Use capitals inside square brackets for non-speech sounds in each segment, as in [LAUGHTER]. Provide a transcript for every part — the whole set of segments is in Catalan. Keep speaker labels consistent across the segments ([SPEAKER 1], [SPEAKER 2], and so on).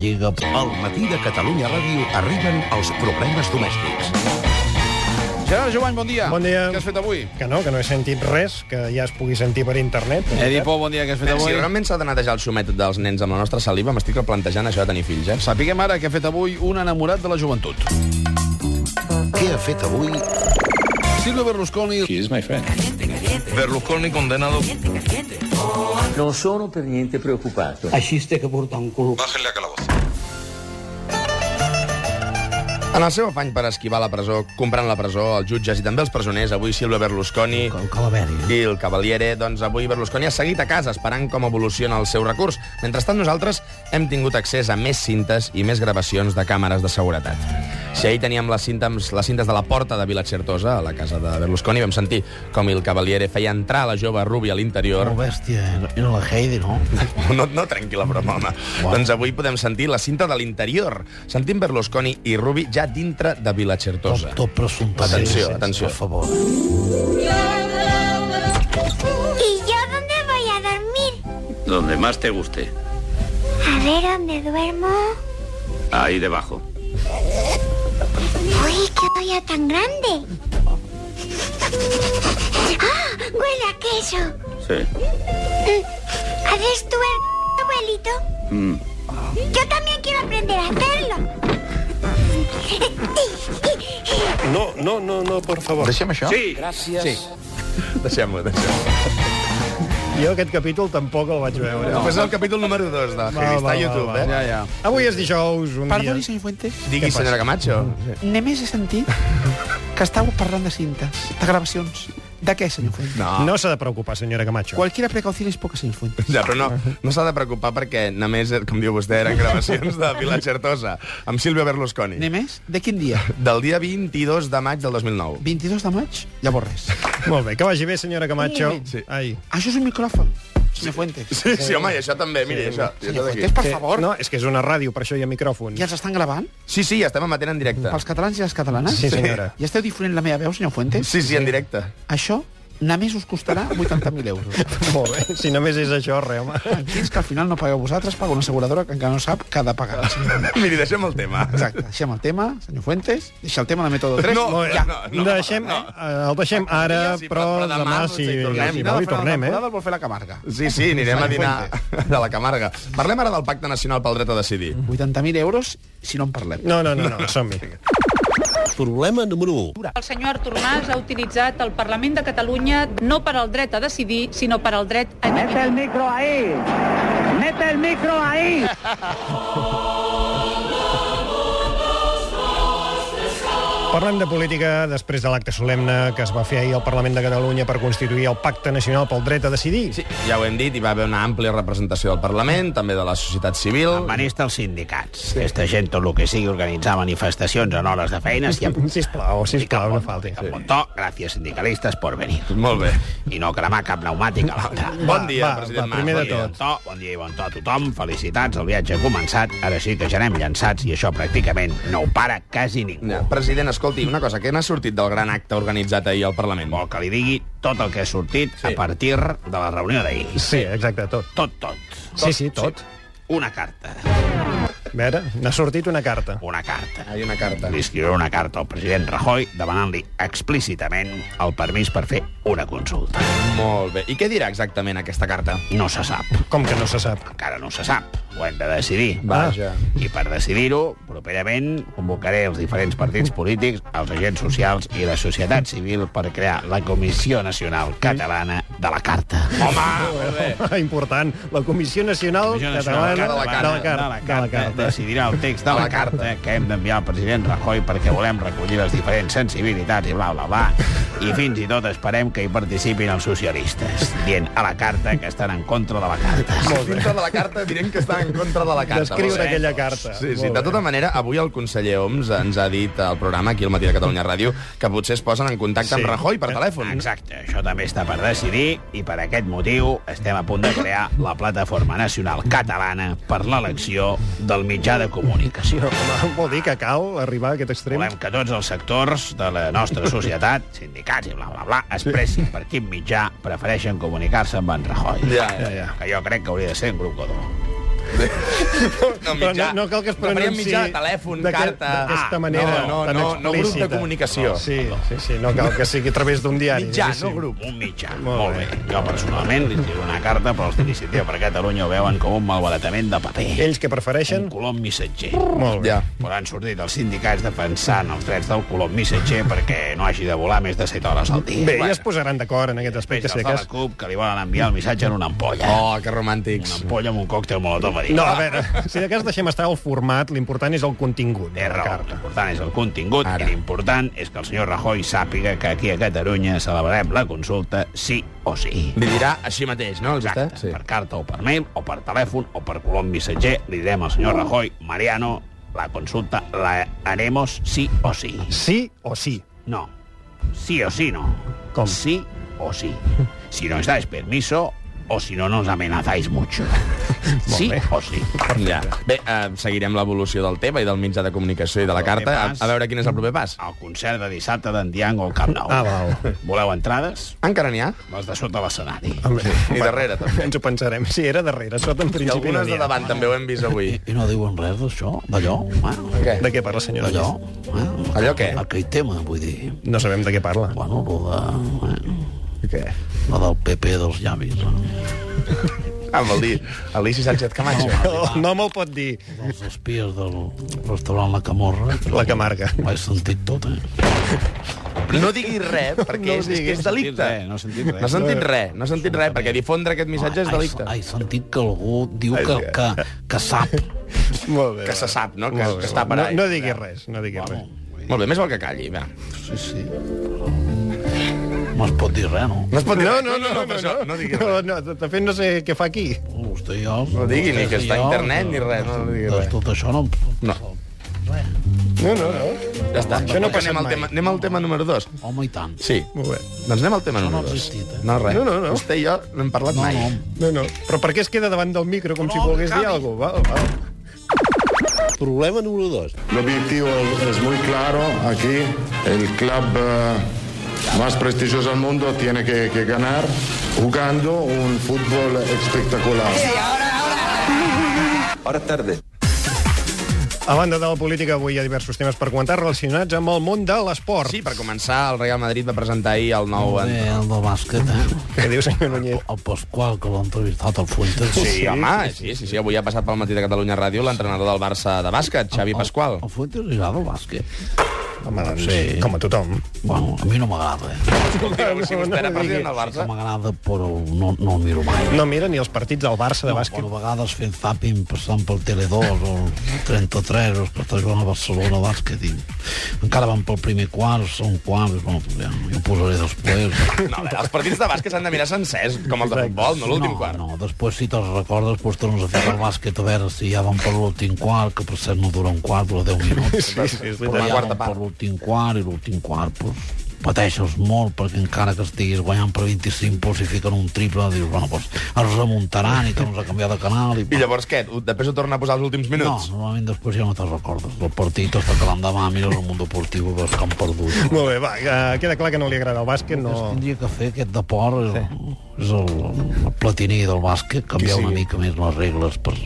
[SPEAKER 1] Lliga...
[SPEAKER 2] Al matí de Catalunya Ràdio arriben els problemes domèstics.
[SPEAKER 3] Gerard Jovany, bon dia.
[SPEAKER 4] Bon dia.
[SPEAKER 3] Què has fet avui?
[SPEAKER 4] Que no, que no he sentit res, que ja es pugui sentir per internet.
[SPEAKER 3] Edipo, bon dia, què has fet
[SPEAKER 5] Eh, Si
[SPEAKER 3] avui?
[SPEAKER 5] realment s'ha de netejar el xumet dels nens amb la nostra saliva, m'estic plantejant això de tenir fills, eh?
[SPEAKER 3] Sapiguem ara què ha fet avui un enamorat de la joventut.
[SPEAKER 2] Què ha fet avui
[SPEAKER 3] Silvio Berlusconi... He is my friend.
[SPEAKER 5] Berlusconi condenado...
[SPEAKER 6] Non sono per niente preoccupato.
[SPEAKER 7] Així es té que portar un club.
[SPEAKER 5] En el seu afany per esquivar la presó, comprant la presó, els jutges i també els presoners, avui Silvio Berlusconi
[SPEAKER 7] El Calaveri.
[SPEAKER 5] i el Cavaliere, doncs avui Berlusconi ha seguit a casa esperant com evoluciona el seu recurs. Mentrestant, nosaltres hem tingut accés a més cintes i més gravacions de càmeres de seguretat. Si ahir teníem les cintes, les cintes de la porta de Vila Certosa, a la casa de Berlusconi, vam sentir com el Cavaliere feia entrar la jove Rubi a l'interior.
[SPEAKER 1] Molt bèstia, era- era la Heidi, no?
[SPEAKER 5] No, no trenqui la broma, home. Doncs avui podem sentir la cinta de l'interior. Sentim Berlusconi i Rubi ja dintre de Vila
[SPEAKER 1] Tot,
[SPEAKER 5] Certosa.
[SPEAKER 1] tot presumptament.
[SPEAKER 5] Atenció,
[SPEAKER 1] Sí, sí,
[SPEAKER 5] atenció.
[SPEAKER 1] Per favor.
[SPEAKER 8] ¿Y yo dónde voy a dormir?
[SPEAKER 6] Donde más te guste.
[SPEAKER 8] A ver dónde duermo.
[SPEAKER 6] Ahí debajo.
[SPEAKER 8] Uy, qué olla tan grande. ¡Ah! Huele a queso.
[SPEAKER 6] Sí.
[SPEAKER 8] ¿Haces tú el abuelito?
[SPEAKER 6] Mm.
[SPEAKER 8] Yo también quiero aprender a hacerlo.
[SPEAKER 4] No, no, no, no, por favor.
[SPEAKER 5] Deixem això? Sí. Gràcies. Sí. Deixem-ho, deixem-ho.
[SPEAKER 4] Jo aquest capítol tampoc el vaig veure.
[SPEAKER 5] No. Pues és el capítol número 2 de
[SPEAKER 4] va,
[SPEAKER 5] Està
[SPEAKER 4] va,
[SPEAKER 5] a YouTube,
[SPEAKER 4] va.
[SPEAKER 5] eh?
[SPEAKER 3] Ja, ja.
[SPEAKER 4] Avui és dijous, un
[SPEAKER 9] Perdoni,
[SPEAKER 4] dia...
[SPEAKER 9] senyor Fuentes.
[SPEAKER 5] Digui,
[SPEAKER 4] passa?
[SPEAKER 5] senyora Camacho.
[SPEAKER 9] Només he sentit que estàveu parlant de cintes, de gravacions. De què, senyor Fuentes?
[SPEAKER 5] No.
[SPEAKER 4] No s'ha de preocupar, senyora Camacho.
[SPEAKER 9] Cualquiera precaución es poca, senyor Fuentes.
[SPEAKER 5] Ja, però no, no s'ha de preocupar perquè només, com diu vostè, eren gravacions de Vila Certosa, amb Silvio Berlusconi.
[SPEAKER 9] Només? De quin dia?
[SPEAKER 5] Del dia 22 de maig del 2009.
[SPEAKER 9] 22 de maig? Llavors res.
[SPEAKER 4] Molt bé, que vagi bé, senyora Camacho.
[SPEAKER 5] Sí.
[SPEAKER 4] Ai.
[SPEAKER 9] Això és un micròfon, senyor Fuentes.
[SPEAKER 5] Sí, sí, home, i això també, miri, això. I això
[SPEAKER 9] Senyor
[SPEAKER 5] d'aquí.
[SPEAKER 9] Fuentes, per favor.
[SPEAKER 4] No, és que és una ràdio, per això hi ha micròfon.
[SPEAKER 9] I els estan gravant?
[SPEAKER 5] Sí, sí, estem emetent en directe.
[SPEAKER 9] Pels catalans i les catalanes?
[SPEAKER 4] Sí, senyora.
[SPEAKER 9] I esteu difonent la meva veu, senyor Fuentes?
[SPEAKER 5] Sí, sí, en directe. [LAUGHS]
[SPEAKER 9] Això només us costarà 80.000 euros.
[SPEAKER 4] [LAUGHS] Molt bé, si només és això, res, home.
[SPEAKER 9] Tranquils, que al final no pagueu vosaltres, paga una asseguradora que encara no sap que ha de pagar.
[SPEAKER 5] Miri, deixem el tema.
[SPEAKER 9] Exacte, deixem el tema, senyor Fuentes, deixa el tema de Método 3.
[SPEAKER 5] No,
[SPEAKER 4] Molt bé.
[SPEAKER 5] ja. no, no,
[SPEAKER 4] deixem,
[SPEAKER 5] no.
[SPEAKER 4] eh, el deixem ara,
[SPEAKER 5] Sí,
[SPEAKER 4] però,
[SPEAKER 5] però demà
[SPEAKER 4] demà,
[SPEAKER 5] no
[SPEAKER 4] si,
[SPEAKER 5] sé, tornem.
[SPEAKER 4] si
[SPEAKER 5] No,
[SPEAKER 4] vol hi tornem, eh?
[SPEAKER 9] El vol fer la Camarga.
[SPEAKER 5] Sí, sí, anirem a dinar [LAUGHS] de la Camarga. Parlem ara del Pacte Nacional pel Dret a Decidir.
[SPEAKER 9] 80.000 euros si no en parlem.
[SPEAKER 4] No, no, no, no som-hi.
[SPEAKER 1] Problema número 1.
[SPEAKER 10] El senyor Artur Mas ha utilitzat el Parlament de Catalunya no per al dret a decidir, sinó per al dret a eliminar.
[SPEAKER 4] Parlem de política després de l'acte solemne que es va fer ahir al Parlament de Catalunya per constituir el Pacte Nacional pel Dret a Decidir.
[SPEAKER 5] Sí, ja ho hem dit, hi va haver una àmplia representació del Parlament, també de la societat civil.
[SPEAKER 7] Van estar els sindicats. Sí. Esta gent, tot el que sigui, organitzar manifestacions en hores de feines i amb...
[SPEAKER 4] Sisplau, sisplau, no falti.
[SPEAKER 7] Sí. Montó, gràcies sindicalistes per venir.
[SPEAKER 5] Molt bé.
[SPEAKER 7] I no cremar cap pneumàtic a l'altre.
[SPEAKER 5] Bon dia,
[SPEAKER 4] va,
[SPEAKER 5] president
[SPEAKER 4] va,
[SPEAKER 5] Mas.
[SPEAKER 4] primer
[SPEAKER 5] bon
[SPEAKER 4] de
[SPEAKER 5] dia.
[SPEAKER 4] tot.
[SPEAKER 7] Bon to, bon dia i bon to a tothom. Felicitats, el viatge ha començat. Ara sí que ja anem llançats i això pràcticament no ho para quasi ningú.
[SPEAKER 5] Ja, president, escolti, una cosa, què n'ha sortit del gran acte organitzat ahir al Parlament?
[SPEAKER 7] Vol que li digui tot el que ha sortit sí. a partir de la reunió d'ahir.
[SPEAKER 4] Sí, exacte, tot.
[SPEAKER 7] Tot, tot.
[SPEAKER 4] Sí, sí, tot.
[SPEAKER 7] Una carta.
[SPEAKER 4] A veure, n'ha sortit una carta.
[SPEAKER 7] Una carta.
[SPEAKER 5] Hi ha una carta.
[SPEAKER 7] li escriuré una carta al president Rajoy demanant-li explícitament el permís per fer una consulta.
[SPEAKER 5] Molt bé. I què dirà exactament aquesta carta?
[SPEAKER 7] No se sap.
[SPEAKER 4] Com que no se sap?
[SPEAKER 7] Encara no se sap. Ho hem de decidir.
[SPEAKER 5] Vaja.
[SPEAKER 7] I per decidir-ho, properament convocaré els diferents partits polítics, els agents socials i la societat civil per crear la Comissió Nacional Catalana de la Carta.
[SPEAKER 5] Home, molt bé.
[SPEAKER 4] Ah, [LAUGHS] Important. La Comissió Nacional
[SPEAKER 7] Comissió Nacional
[SPEAKER 4] Catalana
[SPEAKER 5] Catalana
[SPEAKER 4] de la Carta.
[SPEAKER 7] de la carta. Decidirà el text de la carta que hem d'enviar al president Rajoy perquè volem recollir les diferents sensibilitats i bla, bla, bla. I fins i tot esperem que hi participin els socialistes, dient a la carta que estan en contra de la carta.
[SPEAKER 5] Dintre de la carta direm que està en contra de la carta.
[SPEAKER 4] Descriure
[SPEAKER 5] Molt bé.
[SPEAKER 4] aquella carta.
[SPEAKER 5] Sí, sí.
[SPEAKER 4] Molt
[SPEAKER 5] De
[SPEAKER 4] bé.
[SPEAKER 5] tota manera, avui el conseller Oms ens ha dit al programa, aquí al matí de Catalunya Ràdio, que potser es posen en contacte
[SPEAKER 4] Sí.
[SPEAKER 5] amb Rajoy per telèfon.
[SPEAKER 7] Exacte, això també està per decidir i per aquest motiu estem a punt de crear la Plataforma Nacional Catalana per l'elecció del mitjà de comunicació.
[SPEAKER 4] Home, [LAUGHS] Vol dir que cal arribar a aquest extrem?
[SPEAKER 7] Volem que tots els sectors de la nostra societat, sindicats i bla, bla, bla, expressin per quin mitjà prefereixen comunicar-se amb en Rajoy.
[SPEAKER 5] Ja, ja, ja.
[SPEAKER 7] Que jo crec que hauria de ser en grup Godó.
[SPEAKER 5] [LAUGHS] No,
[SPEAKER 4] Però no, no cal que es
[SPEAKER 5] Preferia
[SPEAKER 4] pronunciï...
[SPEAKER 5] mitjà, telèfon,
[SPEAKER 4] d'aquest-
[SPEAKER 5] carta...
[SPEAKER 4] D'aquesta
[SPEAKER 5] Ah,
[SPEAKER 4] manera
[SPEAKER 5] no, no,
[SPEAKER 4] tan
[SPEAKER 5] no, no, grup
[SPEAKER 4] explícita.
[SPEAKER 5] de comunicació.
[SPEAKER 4] Sí, sí, sí, no cal que sigui a través d'un diari.
[SPEAKER 5] Mitjà,
[SPEAKER 4] diguéssim.
[SPEAKER 5] no grup.
[SPEAKER 7] Un mitjà. Molt, bé. Jo personalment li escric una carta, però els d'iniciativa per Catalunya ho veuen com un malbaratament de paper.
[SPEAKER 4] Ells que prefereixen...
[SPEAKER 7] Un colom missatger.
[SPEAKER 4] Molt bé.
[SPEAKER 5] Ja.
[SPEAKER 7] Però han sortit els sindicats defensant els drets del colom missatger perquè no hagi de volar més de 7 hores al dia.
[SPEAKER 4] Bé, ja es posaran d'acord en aquest
[SPEAKER 7] Després
[SPEAKER 4] aspecte,
[SPEAKER 7] els
[SPEAKER 4] si
[SPEAKER 7] de
[SPEAKER 4] de
[SPEAKER 7] la
[SPEAKER 4] cas.
[SPEAKER 7] CUP que li volen enviar el missatge en una ampolla.
[SPEAKER 5] Oh, que
[SPEAKER 7] Una
[SPEAKER 5] romàntics.
[SPEAKER 7] ampolla amb un còctel molotov a dir.
[SPEAKER 4] No, a veure, si de cas deixem estar el format, l'important és el contingut eh,
[SPEAKER 7] Té
[SPEAKER 4] de la
[SPEAKER 7] raó.
[SPEAKER 4] carta.
[SPEAKER 7] L'important és el contingut
[SPEAKER 5] Ara.
[SPEAKER 7] Ara. i l'important és que el senyor Rajoy sàpiga que aquí a Catalunya celebrarem la consulta sí o sí.
[SPEAKER 5] Li dirà així mateix, no? Els
[SPEAKER 7] Exacte, sí.
[SPEAKER 5] Sí.
[SPEAKER 7] per carta o per mail, o per telèfon, o per colom missatger, li direm al senyor Rajoy, Mariano, la consulta la haremos sí o sí.
[SPEAKER 4] Sí o sí.
[SPEAKER 7] No, sí o sí no.
[SPEAKER 4] Com?
[SPEAKER 7] Sí
[SPEAKER 4] [LAUGHS]
[SPEAKER 7] o sí. Si no ens dais permiso, o si no nos
[SPEAKER 4] [LAUGHS]
[SPEAKER 7] amenazáis mucho. sí o sí.
[SPEAKER 5] Ja. Bé, eh, seguirem l'evolució del tema i del mitjà de comunicació i de la
[SPEAKER 7] proper
[SPEAKER 5] carta. A,
[SPEAKER 7] pas.
[SPEAKER 5] a veure quin és el proper pas.
[SPEAKER 7] El concert de dissabte d'en Diango al Camp Nou.
[SPEAKER 4] Ah, val.
[SPEAKER 7] Voleu entrades?
[SPEAKER 5] Encara n'hi ha?
[SPEAKER 7] Les de sota l'escenari.
[SPEAKER 4] Ah.
[SPEAKER 5] I darrere, també.
[SPEAKER 4] [LAUGHS] Ens ho pensarem. Sí, era darrere, sota en
[SPEAKER 5] I
[SPEAKER 4] principi no
[SPEAKER 5] algunes de
[SPEAKER 4] n'hi ha.
[SPEAKER 5] davant també ho hem vist avui.
[SPEAKER 1] I no diuen res d'això, d'allò,
[SPEAKER 7] Bueno,
[SPEAKER 5] Què?
[SPEAKER 4] De què parla, senyora?
[SPEAKER 1] d'allò. Eh?
[SPEAKER 7] Ah,
[SPEAKER 5] Allò què?
[SPEAKER 1] Aquell tema, vull dir.
[SPEAKER 4] No sabem de què parla.
[SPEAKER 1] Bueno, lo de... Eh?
[SPEAKER 5] Què?
[SPEAKER 1] La del PP dels llavis. eh?
[SPEAKER 5] Amb el dit. Alici Sánchez Camacho.
[SPEAKER 4] El nom el pot dir
[SPEAKER 1] Dels espies del restaurant La Camorra.
[SPEAKER 4] la Camarga.
[SPEAKER 1] Ho he sentit tot, eh?
[SPEAKER 5] No diguis res, perquè és, és, que és delicte.
[SPEAKER 7] No he sentit res.
[SPEAKER 5] No has sentit res, no has sentit res, perquè difondre aquest missatge és delicte.
[SPEAKER 1] Ai, he sentit que algú diu que, que, que sap.
[SPEAKER 4] Molt bé.
[SPEAKER 5] Que se sap, no? Que,
[SPEAKER 4] Molt bé,
[SPEAKER 5] que està
[SPEAKER 4] va.
[SPEAKER 5] per ahí.
[SPEAKER 4] No, no diguis res, no diguis res.
[SPEAKER 5] Molt bé, més val que calli, va.
[SPEAKER 1] Sí, sí. No es pot dir res, no?
[SPEAKER 5] No es pot dir res. No, no, no, per això, no diguis res.
[SPEAKER 4] No, no, de fet, no sé què fa aquí.
[SPEAKER 1] Vostè i jo...
[SPEAKER 5] No digui ni que
[SPEAKER 1] vostès i
[SPEAKER 5] està a
[SPEAKER 1] jo,
[SPEAKER 5] internet
[SPEAKER 1] eh,
[SPEAKER 5] ni res, no digui
[SPEAKER 1] doncs
[SPEAKER 5] res.
[SPEAKER 1] Tot això no...
[SPEAKER 5] No.
[SPEAKER 4] No, no, no.
[SPEAKER 5] Ja està.
[SPEAKER 4] Això no ha passat
[SPEAKER 5] anem, al
[SPEAKER 4] mai.
[SPEAKER 5] tema, anem al tema número 2.
[SPEAKER 1] Home, i tant.
[SPEAKER 5] Sí.
[SPEAKER 4] Molt bé.
[SPEAKER 5] Doncs anem al tema
[SPEAKER 1] no
[SPEAKER 5] número
[SPEAKER 1] ha
[SPEAKER 5] 2.
[SPEAKER 1] existit, eh?
[SPEAKER 5] No, res.
[SPEAKER 4] No, no, no.
[SPEAKER 5] Vostè i jo no hem parlat
[SPEAKER 1] No,
[SPEAKER 5] mai.
[SPEAKER 1] no.
[SPEAKER 4] No, no. Però per què es queda davant del micro com si volgués dir alguna cosa? Va, va.
[SPEAKER 1] Problema número 2.
[SPEAKER 2] El objetivo es muy claro aquí. El club eh, más prestigioso del mundo tiene que, que ganar jugando un fútbol espectacular.
[SPEAKER 4] A banda de la política, avui hi ha diversos temes per comentar relacionats amb el món de l'esport.
[SPEAKER 5] Sí, per començar, el Real Madrid va presentar ahir el nou...
[SPEAKER 1] Bé, el del bàsquet, eh?
[SPEAKER 4] Què diu, senyor Núñez?
[SPEAKER 1] El Pasqual, que l'ha entrevistat al Fuentes.
[SPEAKER 5] Sí, home, sí, sí, sí, avui ha passat pel matí de Catalunya Ràdio l'entrenador del Barça de
[SPEAKER 1] Ah,
[SPEAKER 5] bàsquet, Xavi
[SPEAKER 1] oh,
[SPEAKER 5] Pasqual.
[SPEAKER 1] El Fuentes li agrada el bàsquet.
[SPEAKER 4] Home, doncs,
[SPEAKER 1] Sí.
[SPEAKER 4] com a tothom.
[SPEAKER 1] Bueno, a mi no m'agrada, eh?
[SPEAKER 5] Escolti, si vostè era president del
[SPEAKER 1] Sí que
[SPEAKER 5] Barça...
[SPEAKER 1] m'agrada, però no, no el miro mai.
[SPEAKER 4] No mira ni els partits del Barça de bàsquet.
[SPEAKER 1] Bueno, a vegades fent zapping passant pel Tele2 o el 33 o els que estan jugant a Barcelona bàsquet i encara van pel primer quart, són quart bueno, ja, jo ho posaré després
[SPEAKER 5] No, a veure, els partits de bàsquet s'han de mirar sencers, com el de
[SPEAKER 4] Exacte.
[SPEAKER 5] futbol, no l'últim
[SPEAKER 1] no,
[SPEAKER 5] quart.
[SPEAKER 1] No, després si te'ls recordes, doncs tornes a fer el bàsquet a veure si ja van per l'últim quart, que per cert no dura un quart, dura 10
[SPEAKER 5] [LAUGHS]
[SPEAKER 1] minuts.
[SPEAKER 4] Sí, sí, és
[SPEAKER 1] però
[SPEAKER 4] veritat.
[SPEAKER 1] ja
[SPEAKER 5] quarta
[SPEAKER 1] van
[SPEAKER 5] part.
[SPEAKER 1] per l'últim quart i l'últim quart, doncs, pateixes molt perquè encara que estiguis guanyant per 25 punts i fiquen un triple, dius, bueno, doncs es remuntaran i tornes a canviar de canal i,
[SPEAKER 5] I llavors què? Ho- Després ho torna a posar els últims minuts?
[SPEAKER 1] No, normalment després ja no te'n recordes del partit, hasta que l'endemà mires el món deportiu i veus que han perdut. No.
[SPEAKER 4] Molt bé, va, eh, queda clar que no li agrada el bàsquet, no... [LAUGHS]
[SPEAKER 1] Tindria que fer aquest deport, és, sí. és el, el platiní del bàsquet, canviar una mica més les regles per,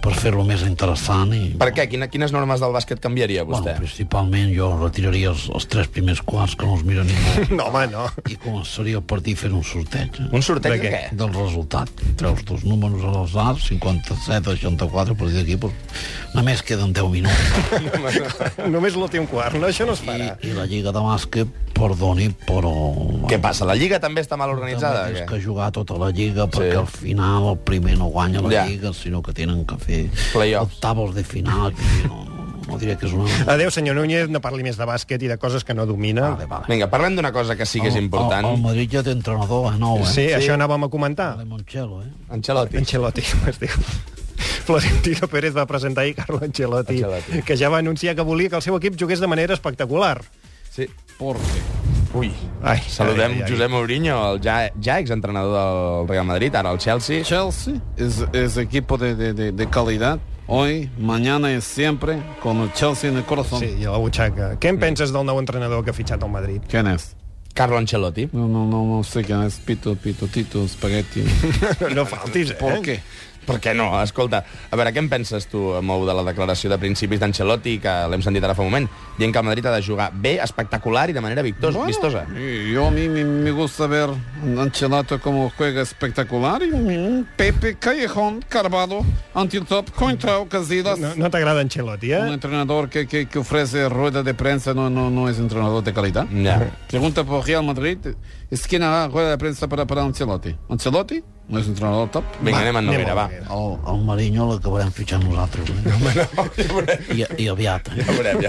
[SPEAKER 1] per fer-lo més interessant. I,
[SPEAKER 5] Per què? Quina, quines normes del bàsquet canviaria
[SPEAKER 1] Bueno,
[SPEAKER 5] vostè?
[SPEAKER 1] principalment jo retiraria els, els tres primers quarts que no els mira ningú
[SPEAKER 4] No, home, no.
[SPEAKER 1] i començaria el partit fent un sorteig. eh?
[SPEAKER 5] Un sorteig
[SPEAKER 4] De
[SPEAKER 5] de
[SPEAKER 4] què?
[SPEAKER 5] què?
[SPEAKER 1] del resultat. Treus dos números a l'atzar, 57 a 64, per dir aquí, doncs, només queden 10 minuts.
[SPEAKER 4] Només l'últim quart, no? Això no es farà.
[SPEAKER 1] I, i la Lliga de Bàsquet, perdoni, però...
[SPEAKER 5] [LAUGHS] Què passa? La Lliga també està mal organitzada?
[SPEAKER 1] és
[SPEAKER 5] o
[SPEAKER 1] que
[SPEAKER 5] què?
[SPEAKER 1] jugar tota la Lliga perquè al final el primer no guanya la
[SPEAKER 5] Ja.
[SPEAKER 1] Lliga, sinó que tenen que fer
[SPEAKER 5] Playoffs.
[SPEAKER 1] octavos de final. que No, no, no diré que és una...
[SPEAKER 4] Adéu, senyor Núñez, no parli més de bàsquet i Ah, de coses que no domina.
[SPEAKER 1] Vale, vale.
[SPEAKER 5] Vinga, parlem d'una cosa [LAUGHS] que sí que és important.
[SPEAKER 1] El, el Madrid ja té entrenador, eh, nou, eh?
[SPEAKER 4] Sí, això anàvem a comentar.
[SPEAKER 1] De Monchelo, eh?
[SPEAKER 5] Ancelotti.
[SPEAKER 4] Ancelotti, [LAUGHS] com es diu. Florentino Pérez va presentar ahir Carlo Ancelotti,
[SPEAKER 5] Ancelotti.
[SPEAKER 4] que ja va anunciar que volia que el seu equip jugués de manera espectacular.
[SPEAKER 5] Sí.
[SPEAKER 1] Porque.
[SPEAKER 5] Ui.
[SPEAKER 4] Ai,
[SPEAKER 5] Saludem
[SPEAKER 4] ai, ai, ai.
[SPEAKER 5] Josep Mourinho, el ja, ja exentrenador del Real Madrid, ara el Chelsea.
[SPEAKER 11] Chelsea es, es equipo de, de- de- de calidad. Hoy, mañana y siempre con el Chelsea en el corazón.
[SPEAKER 4] Sí, i a la butxaca. Què en penses del nou entrenador que ha fitxat al Madrid? [LAUGHS]
[SPEAKER 11] ¿Quién es?
[SPEAKER 5] Carlo Ancelotti.
[SPEAKER 7] [LAUGHS]
[SPEAKER 11] No, no, no, no sé quién es. Pito, Pito, Tito, Spaghetti.
[SPEAKER 4] No faltis, eh?
[SPEAKER 11] ¿Por qué?
[SPEAKER 5] Per què no? Escolta, a veure, què en penses tu, Mou, de la declaració de principis d'Ancelotti, que l'hem sentit ara fa un moment, dient que el Madrid ha de jugar bé, espectacular i de manera victos,
[SPEAKER 7] Bueno,
[SPEAKER 5] vistosa?
[SPEAKER 7] y Yo a mí me, me gusta ver a Ancelotti como juega espectacular y mm, Pepe Callejón, Carvado, Antitop, contra Casillas.
[SPEAKER 4] No, no t'agrada Ancelotti,
[SPEAKER 7] Un
[SPEAKER 4] eh?
[SPEAKER 7] entrenador que, que, que ofrece rueda de prensa no, no, no es entrenador de calidad.
[SPEAKER 5] Ya.
[SPEAKER 7] Pregunta por Real Madrid, ¿es quién hará rueda de prensa para, para Ancelotti? ¿Ancelotti? ¿No es entrenador top?
[SPEAKER 5] Vinga, anem a Noguera, va. [LAUGHS]
[SPEAKER 1] El, el Marinho l'acabarem fitxant nosaltres. Eh? I, I aviat. Eh?
[SPEAKER 5] Ja veurem, ja